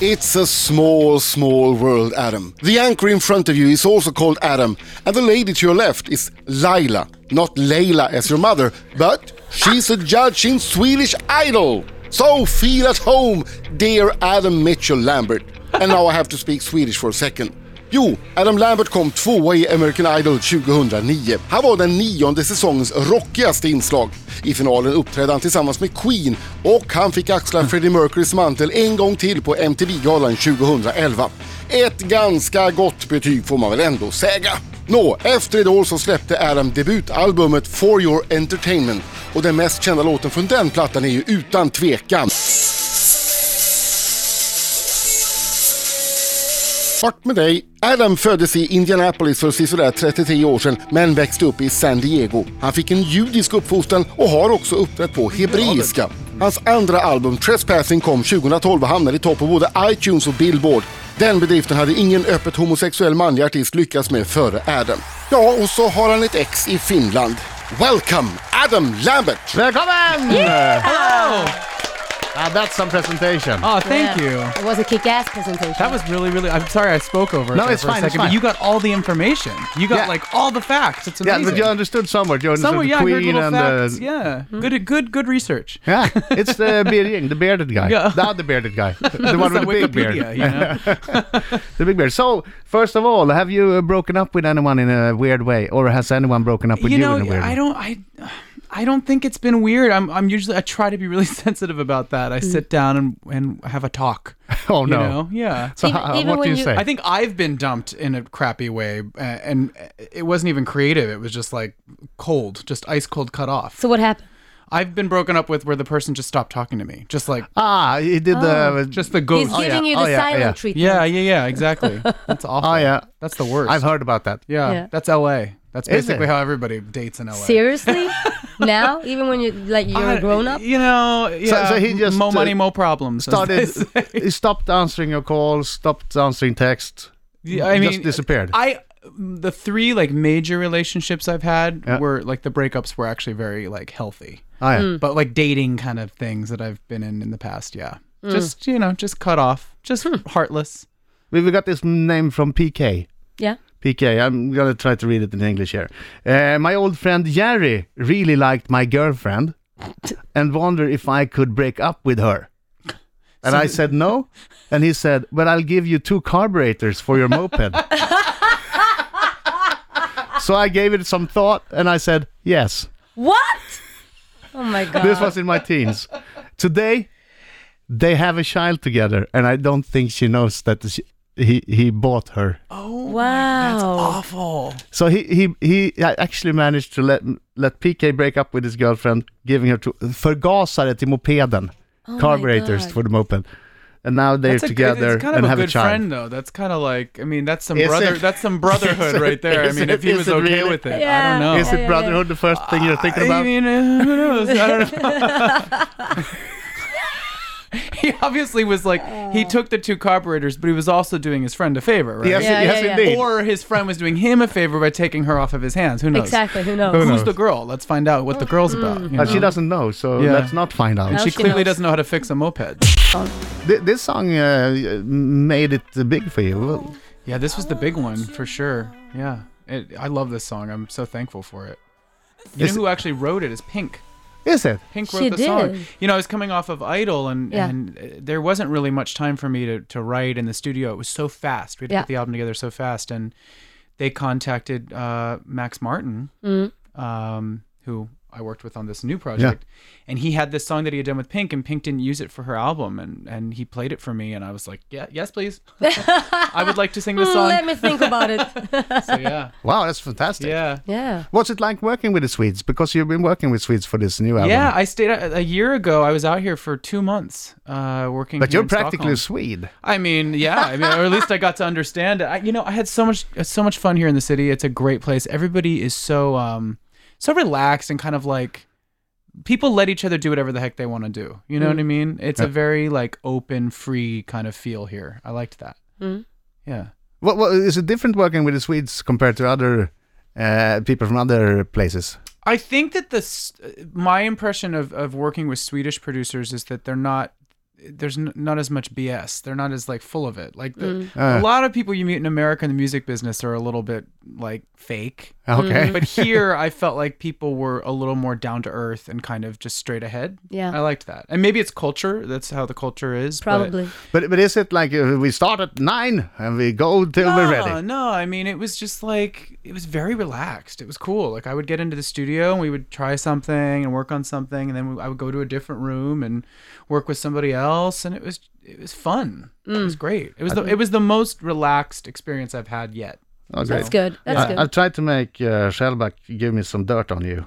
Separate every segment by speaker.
Speaker 1: It's a small, small world, Adam. The anchor in front of you is also called Adam, and the lady to your left is Laila, not Leila as your mother, but she's a judge in Swedish Idol. So feel at home, dear Adam Mitchell Lambert. And now I have to speak Swedish for a second. Jo, Adam Lambert kom tvåa i American Idol 2009. Han var den nionde säsongens rockigaste inslag. I finalen uppträdde han tillsammans med Queen och han fick axla Freddie Mercurys mantel en gång till på MTV-galan 2011. Ett ganska gott betyg får man väl ändå säga. Nå, efter ett år så släppte Adam debutalbumet For Your Entertainment och den mest kända låten från den plattan är ju utan tvekan Bort med dig! Adam föddes i Indianapolis för sisådär 33 år sedan men växte upp i San Diego. Han fick en judisk uppfostran och har också uppträtt på hebreiska. Hans andra album Trespassing kom 2012 och hamnade i topp på både iTunes och Billboard. Den bedriften hade ingen öppet homosexuell manlig artist lyckats med före Adam. Ja, och så har han ett ex i Finland. Welcome Adam Lambert!
Speaker 2: Välkommen! Hello! Ah, that's some presentation.
Speaker 3: Oh, thank you.
Speaker 4: It was a kick-ass presentation.
Speaker 3: That was really, really. I'm sorry I spoke over.
Speaker 2: No,
Speaker 3: it there
Speaker 2: it's
Speaker 3: for a
Speaker 2: fine,
Speaker 3: second,
Speaker 2: it's
Speaker 3: but
Speaker 2: fine.
Speaker 3: you got all the information. You got
Speaker 2: Yeah.
Speaker 3: like all the facts. It's
Speaker 2: yeah,
Speaker 3: amazing.
Speaker 2: but you understood somewhere. You understood
Speaker 3: Somewhere,
Speaker 2: the
Speaker 3: yeah, I heard
Speaker 2: Queen
Speaker 3: little
Speaker 2: and
Speaker 3: facts.
Speaker 2: the.
Speaker 3: yeah, good, good, good research.
Speaker 2: Yeah, it's the bearding, the bearded guy.
Speaker 3: Yeah.
Speaker 2: The other bearded guy. The one with
Speaker 3: That's
Speaker 2: the
Speaker 3: on
Speaker 2: big beard.
Speaker 3: Wikipedia, you know?
Speaker 2: The big beard. So, first of all, have you uh, broken up with anyone in a weird way? Or has anyone broken up with you,
Speaker 3: you know,
Speaker 2: in a weird
Speaker 3: I
Speaker 2: way?
Speaker 3: don't, I, I don't think it's been weird. I'm, I'm usually, I try to be really sensitive about that. I sit down and and have a talk.
Speaker 2: Oh,
Speaker 3: you
Speaker 2: no.
Speaker 3: know? yeah.
Speaker 2: So,
Speaker 4: Even-
Speaker 2: ho-
Speaker 4: even
Speaker 2: what do
Speaker 4: when
Speaker 2: you
Speaker 4: you-
Speaker 2: say?
Speaker 3: I think I've been dumped in a crappy way, uh, and it wasn't even creative. It was just like cold, just ice cold, cut off.
Speaker 4: so what happened?
Speaker 3: I've been broken up with where the person just stopped talking to me, just like
Speaker 2: ah, he did the.
Speaker 3: Oh, just the
Speaker 4: Um, He's
Speaker 3: ghost.
Speaker 4: giving
Speaker 2: yeah,
Speaker 4: you the
Speaker 2: oh, yeah,
Speaker 4: silent
Speaker 2: yeah.
Speaker 4: treatment.
Speaker 3: yeah, yeah, yeah, exactly. That's awful.
Speaker 2: Oh, yeah.
Speaker 3: That's the worst.
Speaker 2: I've heard about that.
Speaker 3: Yeah,
Speaker 4: Yeah.
Speaker 3: that's L.A. That's
Speaker 2: Is
Speaker 3: basically
Speaker 2: it?
Speaker 3: how everybody dates in L.A.
Speaker 4: Seriously? now, even when you like you're
Speaker 3: I-
Speaker 4: a grown up,
Speaker 3: You know, yeah.
Speaker 2: so he just,
Speaker 3: mo money,
Speaker 2: uh,
Speaker 3: mo problems. as they
Speaker 2: Started.
Speaker 3: say.
Speaker 2: he stopped answering your calls, stopped answering texts.
Speaker 3: Yeah, I mean,
Speaker 2: just disappeared.
Speaker 3: I the three like major relationships I've had
Speaker 2: Yeah.
Speaker 3: were like the breakups were actually very like healthy.
Speaker 2: Oh, yeah.
Speaker 3: but like dating kind of things that I've been in in the past. Yeah,
Speaker 4: Mm.
Speaker 3: just you know, just cut off, just
Speaker 4: Hmm.
Speaker 3: heartless.
Speaker 2: We we got this name from PK.
Speaker 4: yeah.
Speaker 2: PK, I'm gonna try to read it in English here. Uh, my old friend Jerry really liked my girlfriend and wondered if I could break up with her. And I said no. And he said, But I'll give you two carburetors for your moped. so I gave it some thought and I said, Yes.
Speaker 4: What? Oh my god.
Speaker 2: This was in my teens. Today, they have a child together, and I don't think she knows that she, he, he bought her.
Speaker 4: wow.
Speaker 3: Awful.
Speaker 2: So he he he actually managed to let let PK break up with his girlfriend, giving her to förgasare till mopeden,
Speaker 4: Oh
Speaker 2: carburetors
Speaker 4: my
Speaker 2: for the moped, and now they're
Speaker 3: That's a,
Speaker 2: together
Speaker 3: it's kind of
Speaker 2: and
Speaker 3: a
Speaker 2: have
Speaker 3: good
Speaker 2: a child.
Speaker 3: friend though. That's kind of like I mean that's some
Speaker 2: Is
Speaker 3: brother
Speaker 2: it?
Speaker 3: that's some
Speaker 2: Is
Speaker 3: brotherhood
Speaker 2: it-
Speaker 3: right there. I
Speaker 2: is
Speaker 3: mean
Speaker 2: it-
Speaker 3: if he
Speaker 2: is
Speaker 3: was
Speaker 2: it
Speaker 3: okay
Speaker 2: really?
Speaker 3: with it, I
Speaker 4: Yeah.
Speaker 3: don't know.
Speaker 2: Is
Speaker 4: Yeah, yeah,
Speaker 2: it
Speaker 4: yeah.
Speaker 2: brotherhood the first thing you're thinking about?
Speaker 3: I mean, uh, who knows? I don't know. he obviously was like he took the two carburetors, but he was also doing his friend a favor, right?
Speaker 2: yes,
Speaker 4: Yeah,
Speaker 2: yes,
Speaker 4: yeah, yeah.
Speaker 2: indeed.
Speaker 3: Or his friend was doing him a favor by taking her off of his hands. Who knows?
Speaker 4: Exactly. Who knows? Mm,
Speaker 2: knows?
Speaker 3: Who's the girl? Let's find out what the girl's about. you know?
Speaker 2: but she doesn't know, so
Speaker 3: Yeah.
Speaker 2: let's not find out.
Speaker 4: No.
Speaker 3: She
Speaker 4: she
Speaker 3: clearly
Speaker 4: knows.
Speaker 3: doesn't know how to fix a moped.
Speaker 2: Th- this song uh, made it big for you.
Speaker 3: Yeah, this was the big one for sure. Yeah, it, I love this song. I'm so thankful for it. You
Speaker 2: Is-
Speaker 3: know who actually wrote it is Pink.
Speaker 2: Is it?
Speaker 3: Pink wrote
Speaker 4: She
Speaker 3: the song.
Speaker 4: did.
Speaker 3: You know, I was coming off of Idol, and
Speaker 4: Yeah.
Speaker 3: and uh, there wasn't really much time for me to to write in the studio. It was so fast. We had to
Speaker 4: Yeah.
Speaker 3: put the album together so fast, and they contacted uh, Max Martin,
Speaker 4: Mm-hmm.
Speaker 3: um, who I worked with on this new project, and he had this song that he had done with Pink, and Pink didn't use it for her album, and and he played it for me, and I was like, yeah, yes, please, I would like to sing this
Speaker 4: Hmm,
Speaker 3: song.
Speaker 4: Let me think about it.
Speaker 3: So yeah,
Speaker 2: Wow, that's fantastic.
Speaker 3: yeah.
Speaker 4: yeah.
Speaker 2: What's it like working with the Swedes? Because you've been working with Swedes for this new album.
Speaker 3: Yeah, I stayed uh, a, a year ago. I was out here for two months uh, working.
Speaker 2: But
Speaker 3: here
Speaker 2: you're
Speaker 3: in
Speaker 2: practically a
Speaker 3: Stockholm.
Speaker 2: Swede.
Speaker 3: I mean, yeah. I mean, or at least I got to understand it. I, you know, I had so much, so much fun here in the city. It's a great place. Everybody is so, um, so relaxed and kind of like, people let each other do whatever the heck they want to do. You know what I mean? It's a very like open, free kind of feel here. I liked that.
Speaker 4: Mm.
Speaker 3: Yeah.
Speaker 2: What, what is it different working with the Swedes compared to other uh, people from other places?
Speaker 3: I think that this, my impression of, of working with Swedish producers is that they're not, there's n- not as much BS. They're not as like full of it. Like
Speaker 4: Mm.
Speaker 3: the, a lot of people you meet in America in the music business are a little bit like fake.
Speaker 4: Mm-hmm.
Speaker 2: Okay.
Speaker 3: But here I felt like people were a little more down to earth and kind of just straight ahead.
Speaker 4: Yeah.
Speaker 3: I liked that. And maybe it's culture. That's how the culture is. but-
Speaker 4: Probably.
Speaker 2: But but is it like uh, we start at nine and we go till
Speaker 4: Ah,
Speaker 2: we're
Speaker 3: No,
Speaker 2: ready?
Speaker 3: Ah, no, I mean it was just like it was very relaxed. It was cool. Like I would get into the studio and we would try something and work on something, and then we, I would go to a different room and work with somebody else, and it was it was fun. It was great. It was the it was the most relaxed experience I've had yet.
Speaker 2: Okay.
Speaker 4: That's good. That's
Speaker 2: I,
Speaker 4: good.
Speaker 2: I've tried to make uh, Shellback give me some dirt on you.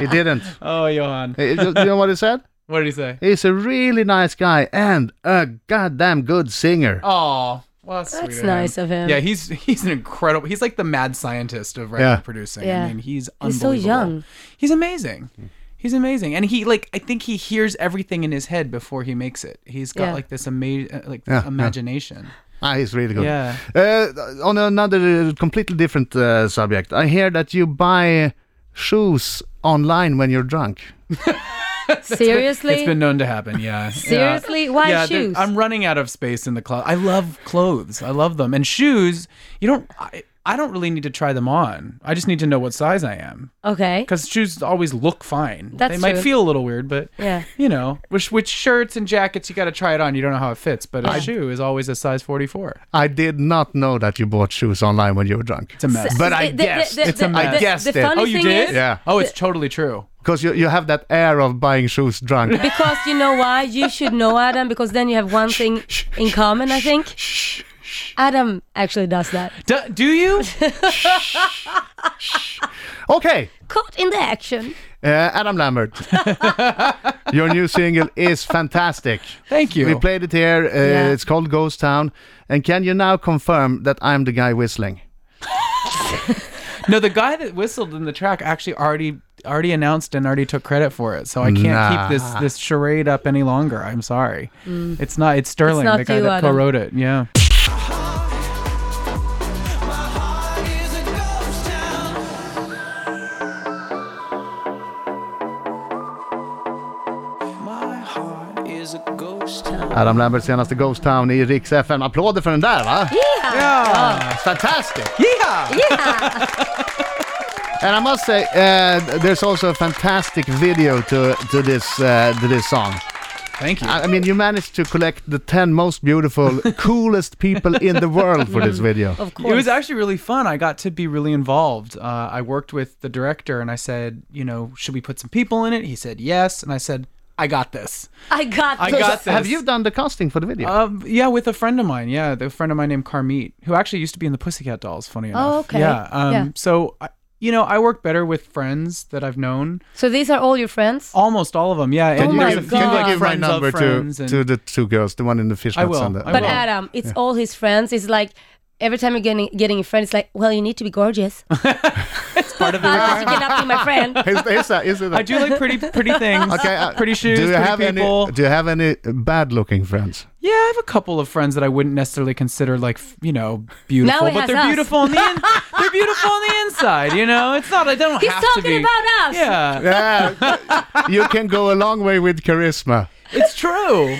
Speaker 2: he didn't.
Speaker 3: Oh, Johan,
Speaker 2: Hey, You you know what he said?
Speaker 3: what did he say?
Speaker 2: He's a really nice guy and a goddamn good singer.
Speaker 3: Oh. Well, that's
Speaker 4: That's
Speaker 3: sweet
Speaker 4: nice
Speaker 3: him.
Speaker 4: of him.
Speaker 3: Yeah, he's he's an incredible. He's like the mad scientist of writing
Speaker 2: Yeah.
Speaker 3: and producing.
Speaker 4: Yeah.
Speaker 3: I mean, he's
Speaker 4: He's so
Speaker 3: unbelievable.
Speaker 4: young.
Speaker 3: He's amazing. He's amazing, and he like I think he hears everything in his head before he makes it. He's got
Speaker 4: Yeah.
Speaker 3: like this amazing like
Speaker 2: Yeah, yeah.
Speaker 3: imagination.
Speaker 2: Ah, he's really good.
Speaker 3: Yeah.
Speaker 2: Uh, on another uh, completely different uh, subject, I hear that you buy shoes online when you're drunk.
Speaker 4: Seriously?
Speaker 3: It's been known to happen. Yeah.
Speaker 4: Seriously?
Speaker 3: Yeah.
Speaker 4: Why
Speaker 3: yeah, there-
Speaker 4: shoes?
Speaker 3: I'm running out of space in the closet. I love clothes. I love them, and shoes. You don't. I, I don't really need to try them on. I just need to know what size I am.
Speaker 4: okay.
Speaker 3: because shoes always look fine.
Speaker 4: That's
Speaker 3: they might
Speaker 4: true.
Speaker 3: feel a little weird, but
Speaker 4: Yeah.
Speaker 3: you know, which which shirts and jackets you got to try it on. You don't know how it fits, but a shoe is always a size forty four.
Speaker 2: I did not know that you bought shoes online when you were drunk.
Speaker 3: It's a mess.
Speaker 2: But I
Speaker 4: The- the-
Speaker 2: guessed.
Speaker 4: the-
Speaker 3: It's a
Speaker 4: the-
Speaker 3: mess.
Speaker 4: the-
Speaker 2: I guessed
Speaker 4: the
Speaker 2: it.
Speaker 4: funny
Speaker 3: oh, you
Speaker 4: thing
Speaker 3: did?
Speaker 4: is-
Speaker 2: Yeah.
Speaker 3: Oh, it's totally true.
Speaker 2: Because you, you have that air of buying shoes drunk.
Speaker 4: Because you know why? You should know Adam because then you have one thing in common, I think. Adam actually does that.
Speaker 3: Do, do you?
Speaker 2: okay,
Speaker 4: Caught in the action.
Speaker 2: uh, Adam Lambert. Your new single is fantastic.
Speaker 3: Thank you.
Speaker 2: We played it here. Uh,
Speaker 4: Yeah.
Speaker 2: It's called Ghost Town. And can you now confirm that I'm the guy whistling?
Speaker 3: no, the guy that whistled in the track actually already already announced and already took credit for it. So I can't
Speaker 2: Nah.
Speaker 3: keep this this charade up any longer. I'm sorry. It's not. It's Sterling,
Speaker 4: Mm. not
Speaker 3: the guy
Speaker 4: you,
Speaker 3: that
Speaker 4: Adam.
Speaker 3: co-wrote it. Yeah.
Speaker 2: Adam Lamberts senaste Ghost Town i Rix FM. Applåder för den där va?
Speaker 3: Yeah.
Speaker 2: Fantastic!
Speaker 4: Oh.
Speaker 3: Yeah.
Speaker 2: And I must say, uh, there's also a fantastic video to, to, this, uh, to this song.
Speaker 3: Thank you.
Speaker 2: I, I mean, you managed to collect the 10 most beautiful, coolest people in the world for
Speaker 3: Mm.
Speaker 2: this video.
Speaker 4: Of course.
Speaker 3: It was actually really fun. I got to be really involved. Uh, I worked with the director and I said, you know, should we put some people in it? He said yes. And I said, I got this.
Speaker 4: I got
Speaker 3: I
Speaker 4: this.
Speaker 3: got this.
Speaker 2: Have you done the casting for the video?
Speaker 3: Um, yeah, with a friend of mine. Yeah, the friend of mine named Carmeet, who actually used to be in the Pussycat Dolls, funny enough.
Speaker 4: Oh, okay.
Speaker 3: Yeah. Um,
Speaker 4: Yeah.
Speaker 3: So, I, you know, I work better with friends that I've known.
Speaker 4: So these are all your friends?
Speaker 3: Almost all of them. Yeah.
Speaker 4: Can
Speaker 3: and
Speaker 4: you
Speaker 3: there's
Speaker 4: give-
Speaker 3: a few,
Speaker 4: can you
Speaker 3: like,
Speaker 2: give my
Speaker 3: friends of
Speaker 2: number to,
Speaker 3: friends and-
Speaker 2: to the two girls, the one in the fishnets
Speaker 3: will,
Speaker 2: and the...
Speaker 3: I
Speaker 4: But
Speaker 3: will.
Speaker 4: Adam, it's all his friends. It's like every time you're getting getting a friend, it's like, well, you need to be gorgeous.
Speaker 3: It's part of the
Speaker 4: Otherwise, you cannot be my friend.
Speaker 2: Is, is that, is it
Speaker 3: I do like pretty pretty things.
Speaker 2: Okay, uh,
Speaker 3: pretty shoes,
Speaker 2: do you
Speaker 3: pretty
Speaker 2: have
Speaker 3: people.
Speaker 2: any? Do you have any bad-looking friends?
Speaker 3: Yeah, I have a couple of friends that I wouldn't necessarily consider like f- you know beautiful,
Speaker 4: he
Speaker 3: but
Speaker 4: has
Speaker 3: they're
Speaker 4: us.
Speaker 3: beautiful on the in- they're beautiful on the inside. You know, it's not I don't
Speaker 4: He's
Speaker 3: have to
Speaker 4: talking
Speaker 3: be.
Speaker 4: about us.
Speaker 3: yeah,
Speaker 2: Yeah, you can go a long way with charisma.
Speaker 3: it's true.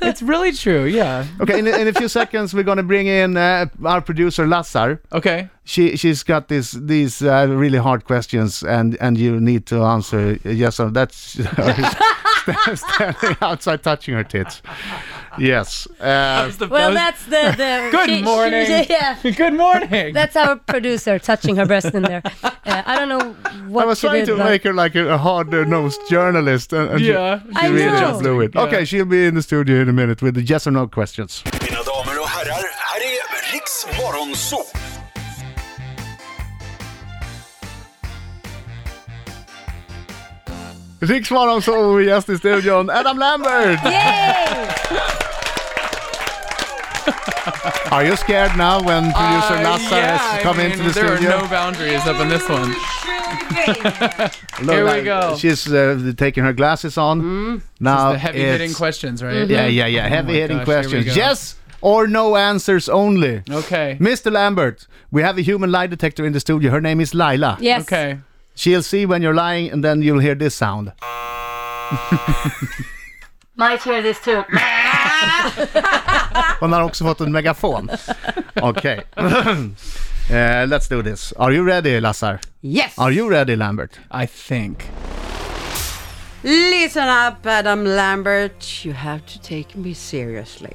Speaker 3: It's really true. Yeah.
Speaker 2: Okay, in, in a few seconds we're gonna bring in uh, our producer Lassar.
Speaker 3: Okay.
Speaker 2: She she's got this these uh, really hard questions, and and you need to answer yes or that's standing outside touching her tits. Yes. Uh,
Speaker 3: That's the- that
Speaker 4: Well,
Speaker 3: was-
Speaker 4: that's the. the
Speaker 3: Good
Speaker 4: she- she-
Speaker 3: morning.
Speaker 4: yeah.
Speaker 3: Good morning.
Speaker 4: That's our producer touching her breast in there. Uh, I don't know what
Speaker 2: I was
Speaker 4: she
Speaker 2: trying
Speaker 4: did,
Speaker 2: to
Speaker 4: but-
Speaker 2: make her like a hard-nosed journalist, and, and she-
Speaker 3: yeah.
Speaker 4: I
Speaker 2: she really
Speaker 4: know.
Speaker 2: just blew it.
Speaker 3: Yeah.
Speaker 2: Okay, she'll be in the studio in a minute with the yes or no questions.
Speaker 5: Mina damer och herrar, här är Riks Morgonzoo!
Speaker 2: Riksmorgon så gäst i studion, Adam Lambert!
Speaker 4: Yay!
Speaker 2: Are you scared now when producer
Speaker 3: Uh,
Speaker 2: Lasse
Speaker 3: yeah,
Speaker 2: has
Speaker 3: I
Speaker 2: come
Speaker 3: mean,
Speaker 2: into the
Speaker 3: there
Speaker 2: studio?
Speaker 3: are no boundaries up in this one.
Speaker 2: Look,
Speaker 3: Here we
Speaker 2: like,
Speaker 3: go. Hmm?
Speaker 2: She's uh, taking her glasses on. Now
Speaker 3: the heavy hitting
Speaker 2: it's-
Speaker 3: questions,
Speaker 4: Mm-hmm.
Speaker 3: right?
Speaker 2: Yeah, yeah, yeah. Heavy hitting
Speaker 3: gosh, here we
Speaker 2: questions.
Speaker 3: go.
Speaker 2: Yes or no answers only.
Speaker 3: Okay.
Speaker 2: Mr. Lambert, we have a human lie detector in the studio. Her name is Lila.
Speaker 4: Yes.
Speaker 3: Okay.
Speaker 2: She'll see when you're lying, and then you'll hear this sound.
Speaker 4: Might hear this too.
Speaker 2: Hon har också fått en megafon. Okej. Eh, let's do this. Are you ready, Lassar?
Speaker 6: Yes!
Speaker 2: Are you ready, Lambert?
Speaker 3: I think.
Speaker 6: Listen up, Adam Lambert. You have to take me seriously.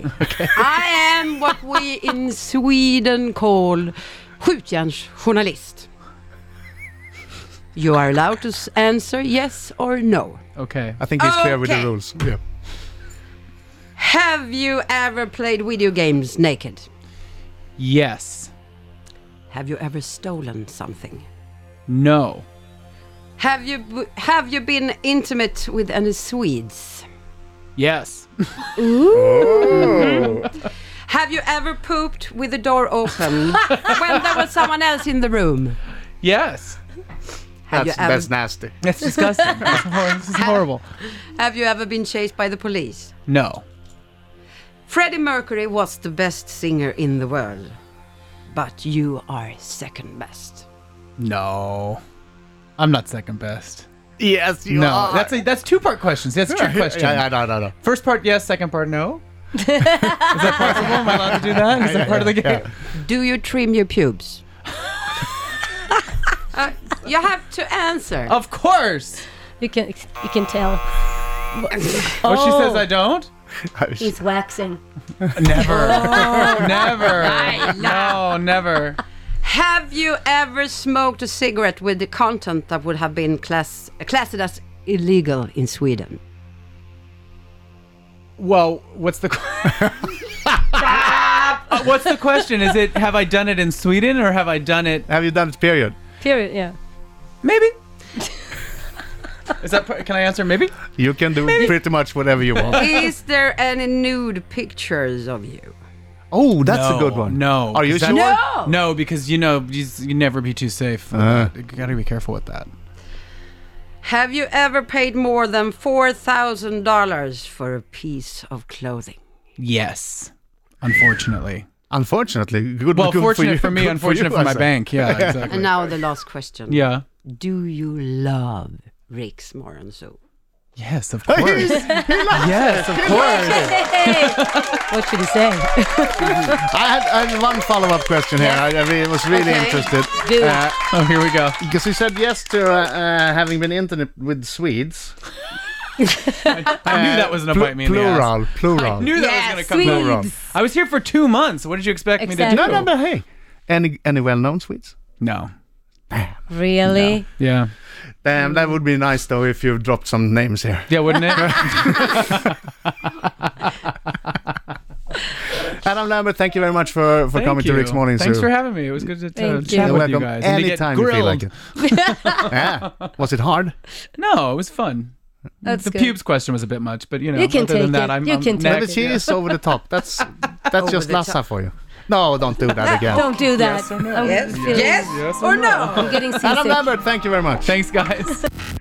Speaker 6: I am what we in Sweden call skjutjärnsjournalist. You are allowed to s- answer yes or no.
Speaker 3: Okay.
Speaker 2: I think he's clear with the
Speaker 6: Okay.
Speaker 2: rules.
Speaker 6: Have you ever played video games naked?
Speaker 3: Yes.
Speaker 6: Have you ever stolen something?
Speaker 3: No.
Speaker 6: Have you b- have you been intimate with any Swedes?
Speaker 3: Yes.
Speaker 6: Have you ever pooped with the door open when there was someone else in the room?
Speaker 3: Yes.
Speaker 6: Have
Speaker 2: That's,
Speaker 6: you ever
Speaker 2: that's nasty.
Speaker 3: That's disgusting. That's hor- this is horrible.
Speaker 6: Have you ever been chased by the police?
Speaker 3: No.
Speaker 6: Freddie Mercury was the best singer in the world, but you are second best.
Speaker 3: No. I'm not second best.
Speaker 2: Yes, you
Speaker 3: no. That's a that's two part questions. That's a trick question.
Speaker 2: Yeah, yeah, no, no, no.
Speaker 3: First part yes, second part no. is that possible? Am I allowed to do that? Is that part of the game?
Speaker 6: Do you trim your pubes? Uh, you have to answer.
Speaker 3: Of course.
Speaker 4: You can you can tell.
Speaker 3: Oh. she says I don't?
Speaker 4: He's waxing.
Speaker 3: Never. never. No, never.
Speaker 6: Have you ever smoked a cigarette with the content that would have been class- classed as illegal in Sweden?
Speaker 3: Well, what's the que- Uh, What's the question? Is it have I done it in Sweden or have I done it
Speaker 2: Have you done it, period?
Speaker 4: Period. Yeah.
Speaker 3: maybe? Is that pr- can I answer maybe?
Speaker 2: You can do pretty much whatever you want.
Speaker 6: Is there any nude pictures of you?
Speaker 2: Oh, that's a
Speaker 3: No,
Speaker 2: good one.
Speaker 3: no,
Speaker 2: Are you
Speaker 3: 'cause
Speaker 2: sure?
Speaker 3: that-
Speaker 6: No.
Speaker 3: No, because you know you, s- you never be too safe.
Speaker 2: Uh.
Speaker 3: You gotta be careful with that.
Speaker 6: Have you ever paid more than $4,000 for a piece of clothing?
Speaker 3: Yes, unfortunately.
Speaker 2: Unfortunately, good.
Speaker 3: Well,
Speaker 2: good
Speaker 3: fortunate for,
Speaker 2: you.
Speaker 3: me,
Speaker 2: good
Speaker 3: unfortunate
Speaker 2: you,
Speaker 3: for, my
Speaker 2: Lassar.
Speaker 3: bank. Yeah, exactly.
Speaker 6: And now the last question.
Speaker 3: Yeah.
Speaker 6: Do you love Riks Morgonzoo?
Speaker 3: Yes, of course. yes, of course.
Speaker 4: what should he say?
Speaker 2: I had, I had one follow-up question here. I, I really- was really
Speaker 6: Okay.
Speaker 2: interested
Speaker 4: Do it.
Speaker 3: Uh, oh, here we go.
Speaker 2: because you said yes to uh, uh, having been intimate with Swedes. Uh,
Speaker 3: I knew that was gonna bite me in the ass.
Speaker 2: plural,
Speaker 3: I
Speaker 2: plural.
Speaker 3: knew that was gonna come.
Speaker 2: no wrong.
Speaker 4: Swedes.
Speaker 3: I was here for two months. What did you expect me to
Speaker 4: Exactly.
Speaker 2: No,
Speaker 3: do?
Speaker 2: no, no. Hey, any any well-known Swedes?
Speaker 3: No.
Speaker 4: Really?
Speaker 3: Yeah.
Speaker 2: Damn, Um,
Speaker 3: Mm.
Speaker 2: that would be nice though if you dropped some names here.
Speaker 3: Yeah, wouldn't it?
Speaker 2: Adam Lambert, thank you very much for, for
Speaker 3: Thank
Speaker 2: coming
Speaker 3: you.
Speaker 2: to Rick's Morning
Speaker 3: Thanks
Speaker 2: Zoo.
Speaker 3: for having me. It was good to uh,
Speaker 4: Thank
Speaker 3: chat
Speaker 4: you.
Speaker 3: with
Speaker 2: You're
Speaker 3: you
Speaker 2: welcome
Speaker 3: guys. and to get
Speaker 2: anytime you feel like it.
Speaker 3: grilled.
Speaker 2: yeah. Was it hard?
Speaker 3: No, it was fun.
Speaker 4: That's
Speaker 3: the
Speaker 4: good.
Speaker 3: pubes question was a bit much, but you know,
Speaker 4: You can
Speaker 3: other
Speaker 4: take
Speaker 3: than that,
Speaker 4: it.
Speaker 3: I'm,
Speaker 4: You
Speaker 3: I'm
Speaker 4: can take
Speaker 2: Maybe
Speaker 3: next.
Speaker 4: it.
Speaker 2: she is over the top. That's that's just
Speaker 6: the top.
Speaker 2: Lassa for you. No, don't do that again.
Speaker 4: Ah, Don't do that. I'm feeling-
Speaker 6: Yes, or no?
Speaker 4: I'm getting
Speaker 2: Adam
Speaker 4: seasick.
Speaker 2: Lambert, thank you very much.
Speaker 3: Thanks, guys.